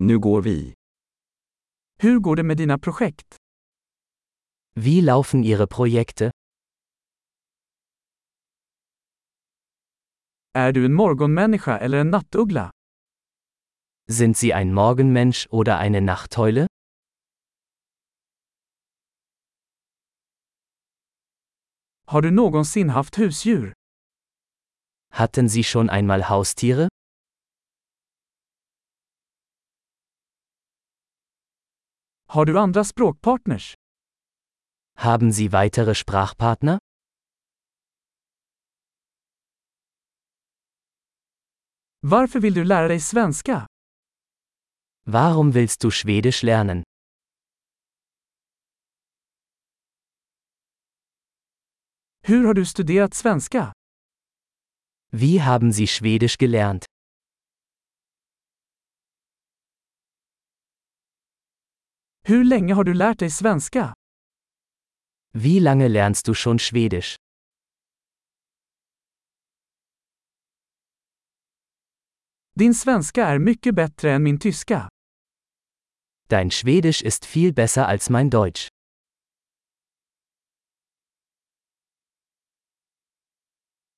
Nu går vi. Hur går det med dina projekt? Wie laufen Ihre Projekte? Är du en morgonmänniska eller en nattuggla? Sind Sie ein Morgenmensch oder eine Nachteule? Har du någonsin haft husdjur? Hatten Sie schon einmal Haustiere? Har du andra språkpartners? Haben Sie weitere Sprachpartner? Varför vill du lära dig svenska? Warum willst du Schwedisch lernen? Hur har du studerat svenska? Wie haben Sie Schwedisch gelernt? Hur länge har du lärt dig svenska? Wie lange lernst du schon Schwedisch? Din svenska är mycket bättre än min tyska. Dein Schwedisch ist viel besser als mein Deutsch.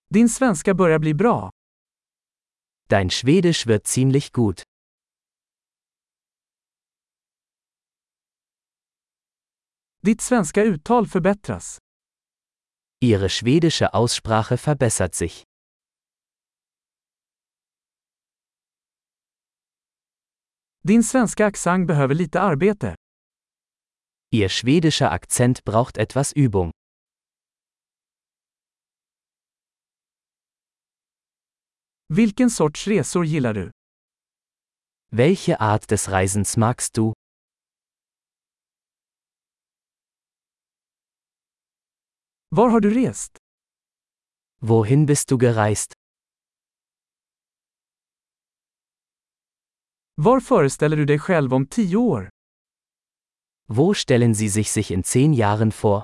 Din svenska börjar bli bra. Dein Schwedisch wird ziemlich gut. Ditt svenska uttal förbättras. Ihre schwedische Aussprache verbessert sich. Din svenska accent behöver lite arbete. Ihr schwedischer Akzent braucht etwas Übung. Vilken sorts resor gillar du? Welche Art des Reisens magst du? Var har du rest? Wohin bist du gereist? Var föreställer du dig själv om tio år? Wo stellen Sie sich sich in zehn Jahren vor?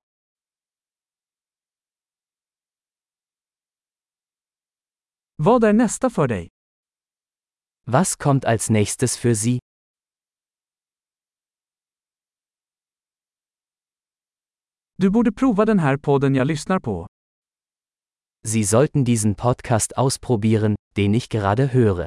Vad är nästa för dig? Was kommt als nächstes für Sie? Du borde prova den här podden jag lyssnar på. Sie sollten diesen Podcast ausprobieren, den ich gerade höre.